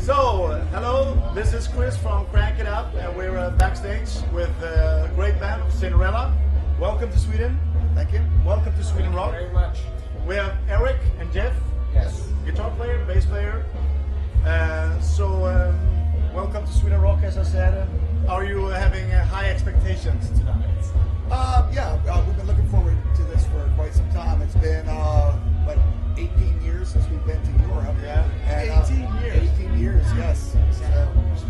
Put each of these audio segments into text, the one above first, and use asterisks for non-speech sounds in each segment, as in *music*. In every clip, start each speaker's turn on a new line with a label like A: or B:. A: So, uh, hello, this is Chris from Crank It Up, and we're uh, backstage with the great band of Cinderella. Welcome to Sweden.
B: Thank you.
A: Welcome to Sweden Rock.
C: Very much.
A: We have Eric and Jeff,
C: Yes.
A: guitar player, bass player. Uh, so, um, welcome to Sweden Rock, as I said. Are you having uh, high expectations tonight?
B: Uh, yeah, uh, we've been looking forward to this for quite some time. It's been uh, what 18 years since we've been to Europe.
A: Yeah.
B: And, uh,
A: 18 years.
B: 18 years. Yes. So,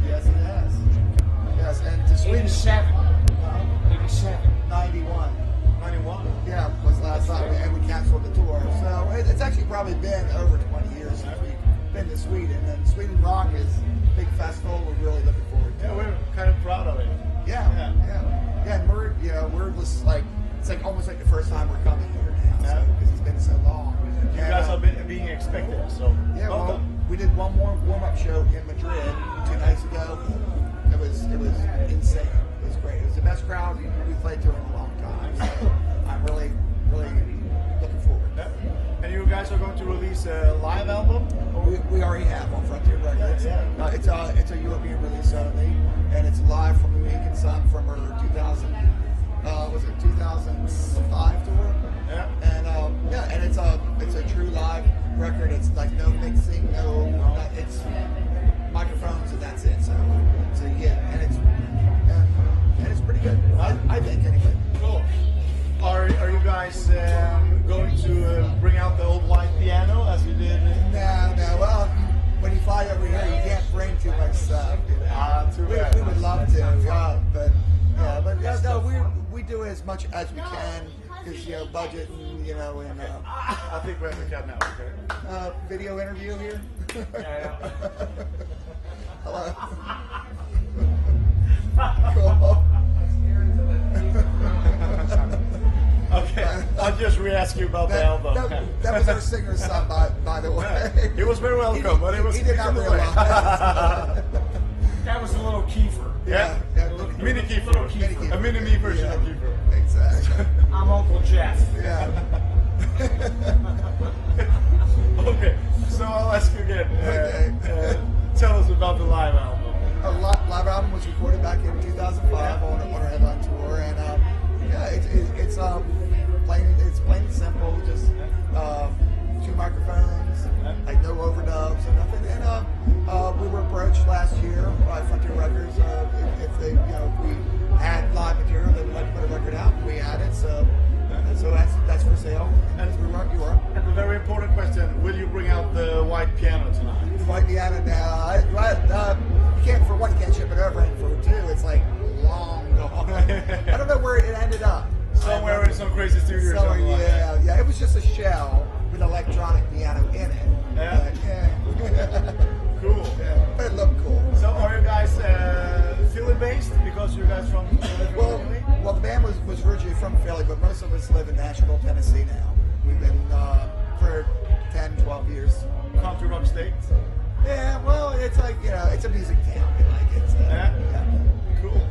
A: Yes, it has.
B: yes. And to uh, Sweden,
C: 87. 87.
B: 91.
A: 91.
B: Yeah, was last time, and we canceled the tour. So it- it's actually probably been over 20 years since we've been to Sweden. And Sweden Rock is a big festival. We're really looking forward to
A: Yeah,
B: it.
A: we're kind of proud of it.
B: Yeah,
A: Yeah.
B: yeah, yeah. and we're you know we're just like it's like almost like the first time we're coming here now
A: Yeah.
B: because it's been so long.
A: You
B: And,
A: guys
B: uh,
A: are be- being expected, so
B: yeah. Well,
A: welcome.
B: we did one more warm up show in Madrid two nights ago. It was it was insane. It was great. It was the best crowd we- we played to in a long time.
A: *coughs*
B: So I'm really really looking forward.
A: Yeah. And you guys are going to release a live album?
B: We, we already have on Frontier Records.
A: Yeah, yeah.
B: Uh, it's a it's a European release only, and it's live from the Week and Sun from her 2000 uh, was it 2005 tour,
A: Yeah.
B: and um, yeah, and it's a it's a true live record. It's like no mixing, no, no- it's microphones and that's it. So so yeah, and it's and, and it's pretty good. I, I think anyway.
A: Cool. Are, are you guys um, going to uh, bring out the old white piano as you did?
B: No, no. Well, when you fly over here, you can't bring too much stuff. You know?
A: Ah, too
B: we,
A: bad.
B: we would love to, yeah, but yeah, but yeah, no, we we do as much as we can because you know budget and you know and uh,
A: I think we're at the cut now. Okay.
B: uh, video interview here. Hello. Cool.
A: Okay. I'll just re-ask you about the
B: That,
A: album.
B: that, that was our singer's son, by,
A: *laughs*
B: by the way.
A: He was very welcome,
B: He-
A: but it was
B: he did not
A: either way.
B: realize.
C: That was a little Kiefer.
A: *laughs* yeah.
B: yeah.
A: Mini Kiefer.
B: Mini Kiefer.
A: A mini me version of
B: Yeah.
A: Kiefer.
B: Exactly.
C: I'm Uncle Jeff. *laughs*
B: Yeah.
A: Okay, so I'll ask you again. Uh,
B: Okay.
A: uh, tell us about the live album.
B: A lot, live album was recorded back in 2005 on, on our headline tour, and um, yeah, it's it, it's um, plain it's plain and simple, just um, two microphones, like no overdubs and nothing. And um, uh, we were approached last year by Frontier Records uh, if, if they you know if we had live material they would like to put a record out. We had it, so so that's that's for sale. And it's Vermont, you are.
A: And a very important question: Will you bring out the white piano tonight?
B: Might be out of now. I, I, uh, you can't for one, you can't ship it over, and for two, it's like long
A: *laughs*
B: gone. I don't know where it ended up.
A: Somewhere in some crazy studio. or
B: Somewhere,
A: something like that.
B: yeah, yeah. It was just a shell with an electronic piano in it.
A: Yeah.
B: But, yeah. *laughs*
A: Cool.
B: yeah. But it looked cool.
A: So are you guys uh, Philly based because you guys from Philly
B: Well,
A: originally?
B: well, the band was, was originally from Philly, but most of us live in Nashville, Tennessee now. We've been uh, for 10, 12 years.
A: country rock state.
B: Yeah, well, it's like, you know, it's a music town. We like it. so,
A: Yeah.
B: yeah.
A: Cool.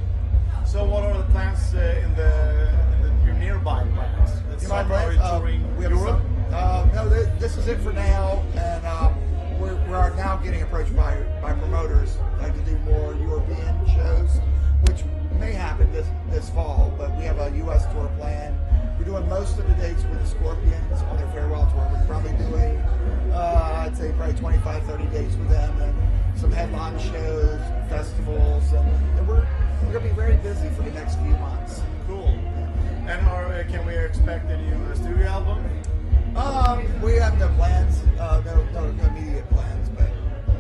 A: So what are the plans uh, in the in the your nearby plans? That's
B: You mind,
A: are
B: Brent?
A: you
B: Uh,
A: touring
B: we have a
A: Europe?
B: song? Uh, no, th- this is it for now, and uh, we're, we're now getting approached by by promoters like to do more European shows, which may happen this this fall. But we have a U.S. tour plan. We're doing most of the dates with the Scorpions on their farewell tour. We're probably doing, uh, I'd say, probably 25, 30 dates with them, and some headline shows, festivals, and, and we're we're gonna be very busy for the next few months.
A: Cool. And are, uh, can we expect a new uh, studio album?
B: Um, we have no plans, uh, no, no, no immediate plans, but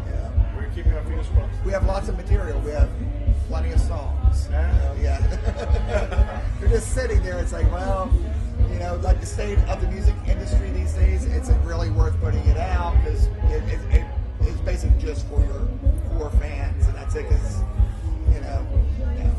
B: yeah.
A: We're keeping our fingers crossed.
B: we have lots of material. We have plenty of songs.
A: Yeah.
B: Uh, yeah. *laughs* You're just sitting there. It's like, well, you know, like the state of the music industry these days, it's really worth putting it out because it, it, it, it's basically just for your core fans, and that's it. Because you know, yeah.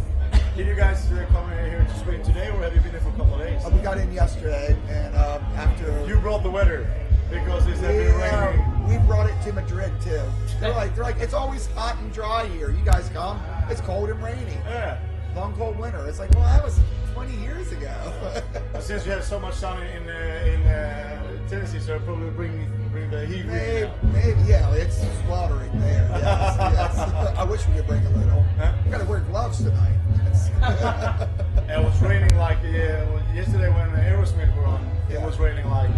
A: Did you guys uh, come here to Sweden today, or have you been here for a couple of days?
B: Uh, we got in yesterday, and um, after
A: You brought the weather because it's been
B: Yeah,
A: raining.
B: we brought it to Madrid too. They're like, they're like, it's always hot and dry here. You guys come, it's cold and rainy.
A: Yeah.
B: Long cold winter. It's like, well, that was 20 years ago. *laughs*
A: Since we have so much sun in uh, in uh, Tennessee, so probably bring bring the heat. with you
B: maybe,
A: now.
B: maybe, yeah, it's sweltering there. yes. wish we could bring a little.
A: Huh?
B: We gotta wear gloves tonight. *laughs*
A: It was raining like yeah, yesterday when Aerosmith were on. It
B: Yeah.
A: was raining like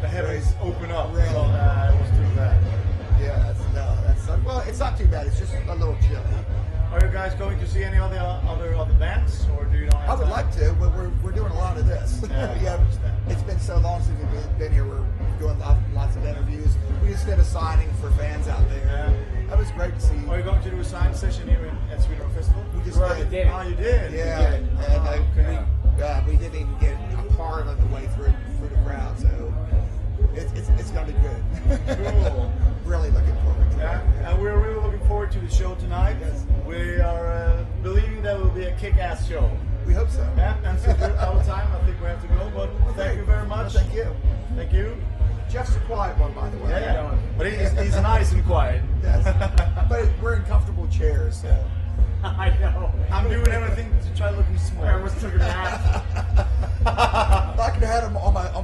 A: the heavens open up.
B: Really?
A: So uh, it was too bad.
B: yeah, that's no, that's not, well, it's not too bad. It's just a little chilly.
A: Are you guys going to see any other other other bands, or do you not? Have
B: I would
A: time?
B: like to, but we're, we're doing a lot of this. *laughs*
A: Yeah, I
B: yeah,
A: understand.
B: it's been so long since we've been, been here. We're doing lots, lots of interviews. We just did a signing for fans out there.
A: Yeah.
B: That was great to see.
A: Are you going to do a sign session here in, at Sweden Rock Festival?
B: We just
C: Right,
B: did.
C: they did.
A: Oh, you did.
B: Yeah,
A: You did.
B: and
A: Oh,
B: I,
A: okay.
B: we, uh, we didn't even get a part of the way through through the crowd, so it's it's, it's gonna be good.
A: Cool.
B: *laughs* really looking forward to
A: Yeah,
B: it.
A: and we're really looking forward to the show tonight.
B: Yes.
A: We are uh, believing that will be a kick-ass show.
B: We hope so.
A: Yeah, and since we're out of time, I think we have to go. But thank you very much.
B: Thank you.
A: Thank you.
B: Jeff's a quiet one, by the way.
A: Yeah, yeah. But he's, he's nice and quiet. *laughs*
B: Yes. but we're in comfortable chairs, so.
C: I know.
A: I'm doing everything to try looking small.
C: I almost took a nap.
B: If I could have had him on my on *laughs*